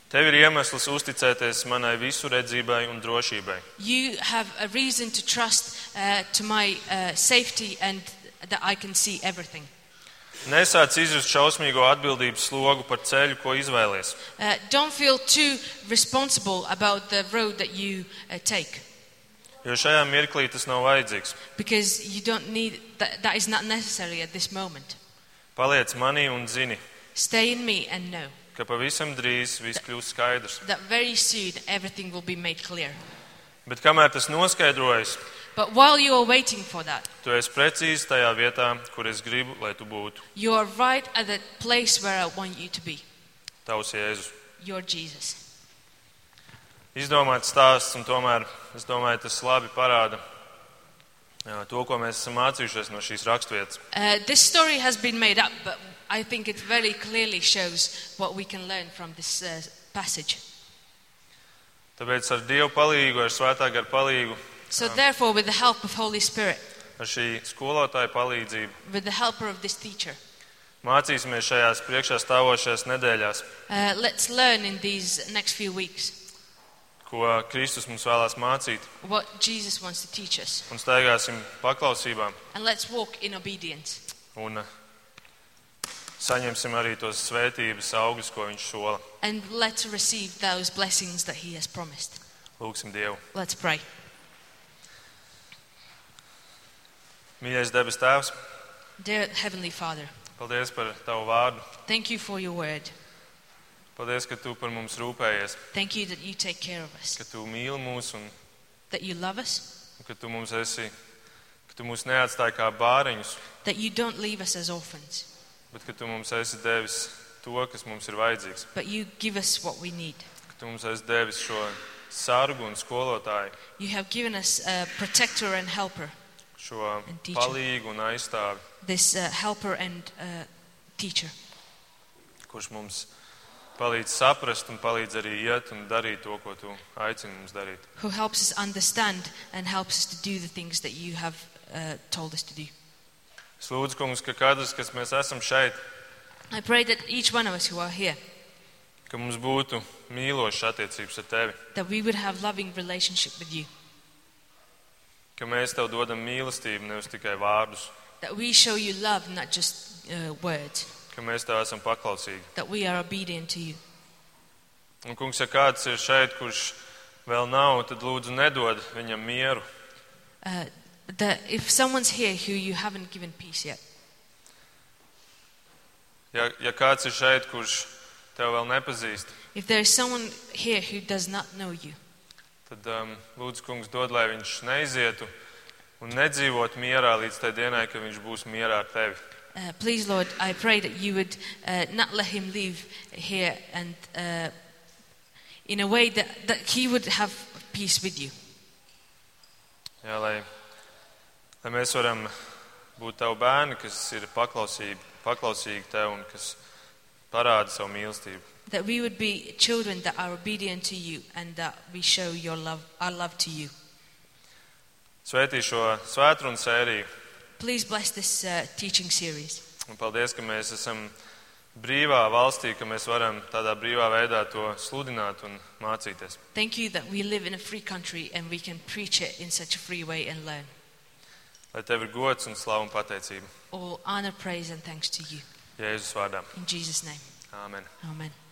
Speaker 1: tev ir iemesls uzticēties manai visu redzībai un drošībai.
Speaker 2: you have a reason to trust uh, to my uh, safety and that I can see everything.
Speaker 1: Nesāc izjust šausmīgo atbildības slogu par ceļu, ko izvēlies.
Speaker 2: Uh, don't feel too responsible about the road that you uh, take
Speaker 1: Jo šajā mirklī tas nav vajadzīgs.
Speaker 2: because you don't need that, that is not necessary at this moment.
Speaker 1: Paliec manī un zini,
Speaker 2: Stay in me and know
Speaker 1: ka pavisam drīz viss kļūs skaidrs.
Speaker 2: that very soon everything will be made clear.
Speaker 1: Bet kamēr tas noskaidrojas,
Speaker 2: But while you are waiting for that,
Speaker 1: tu esi precīzi tajā vietā, kur es gribu, lai tu būtu.
Speaker 2: you are right at the place where I want you to be.
Speaker 1: Tavs Jēzus.
Speaker 2: You're Jesus.
Speaker 1: Izdomāts stāsts, un tomēr es domāju, tas labi parāda jā, to, ko mēs esam mācījušies no šīs raksturvietas.
Speaker 2: Uh, this story has been made up, but I think it very clearly shows what we can learn from this uh, passage.
Speaker 1: Tāpēc ar Dieva palīdzību, ar Svētā gara palīdzību,
Speaker 2: So, therefore, with the help of Holy Spirit,
Speaker 1: ar šī skolotāja palīdzību
Speaker 2: with the helper of this teacher,
Speaker 1: mācīsimies šajās priekšā stāvošajās nedēļās,
Speaker 2: uh, let's learn in these next few weeks
Speaker 1: ko Kristus mums vēlās mācīt,
Speaker 2: what Jesus wants to teach us,
Speaker 1: un staigāsim paklausībā
Speaker 2: and let's walk in obedience
Speaker 1: un saņemsim arī tos svētības augļus, ko Viņš sola.
Speaker 2: and let's receive those blessings that He has promised.
Speaker 1: Lūksim Dievu!
Speaker 2: Let's pray.
Speaker 1: Mīļais debes Tēvs,
Speaker 2: Dear Heavenly Father,
Speaker 1: paldies par Tavu vārdu!
Speaker 2: thank you for your word.
Speaker 1: Paldies, ka Tu par mums rūpējies!
Speaker 2: Thank you that you take care of us,
Speaker 1: ka tu mīli mūs un
Speaker 2: that you love us,
Speaker 1: ka tu mums esi, ka tu mūs neatstāji kā bāriņus,
Speaker 2: that you don't leave us as orphans,
Speaker 1: bet ka tu mums esi devis to, kas mums ir vajadzīgs,
Speaker 2: but you give us what we need.
Speaker 1: ka tu mums esi devis šo sargu un skolotāju,
Speaker 2: You have given us a protector and helper,
Speaker 1: šo
Speaker 2: And teacher.
Speaker 1: palīgu un aizstāvi,
Speaker 2: this uh, helper and uh, teacher
Speaker 1: kurš mums palīdz saprast un palīdz arī iet un darīt to, ko tu aicini mums darīt.
Speaker 2: who helps us understand and helps us to do the things that you have uh, told us to do.
Speaker 1: Es lūdzu, kungs, ka katrs, kas mēs esam šeit,
Speaker 2: I pray that each one of us who are here,
Speaker 1: ka mums būtu mīlošas attiecības ar tevi,
Speaker 2: that we would have loving relationship with you,
Speaker 1: ka mēs tev dodam mīlestību, nevis tikai vārdus,
Speaker 2: that we show you love, not just uh, words,
Speaker 1: ka mēs tev esam paklausīgi.
Speaker 2: that we are obedient to you.
Speaker 1: Un, kungs, ja kāds ir šeit, kurš vēl nav, tad lūdzu nedod viņam mieru.
Speaker 2: uh, that if someone's here who you haven't given peace yet,
Speaker 1: Ja, ja kāds ir šeit, kurš tev vēl nepazīst,
Speaker 2: if there is someone here who does not know you,
Speaker 1: tad um, lūdzu, kungs, dod, lai viņš neizietu un nedzīvot mierā līdz tai dienai, kad viņš būs mierā ar tevi.
Speaker 2: uh, please, Lord, I pray that you would uh, not let him leave here and uh, in a way that, that he would have peace with you,
Speaker 1: Jā, lai, lai mēs varam būt tavi bērni, kas ir paklausīgi, paklausīgi tev un kas parāda savu mīlestību.
Speaker 2: that we would be children that are obedient to you and that we show your love, our love to you.
Speaker 1: Svētī šo svētdienas sēriju
Speaker 2: Please bless this uh, teaching series.
Speaker 1: un paldies, ka mēs esam brīvā valstī, ka mēs varam tādā brīvā veidā to sludināt un mācīties.
Speaker 2: Thank you that we live in a free country and we can preach it in such a free way and learn.
Speaker 1: Lai tev ir gods un slavu un pateicība.
Speaker 2: All honor, praise, and thanks to you.
Speaker 1: Jēzus vārdā.
Speaker 2: In Jesus' name,
Speaker 1: Āmen.
Speaker 2: amen.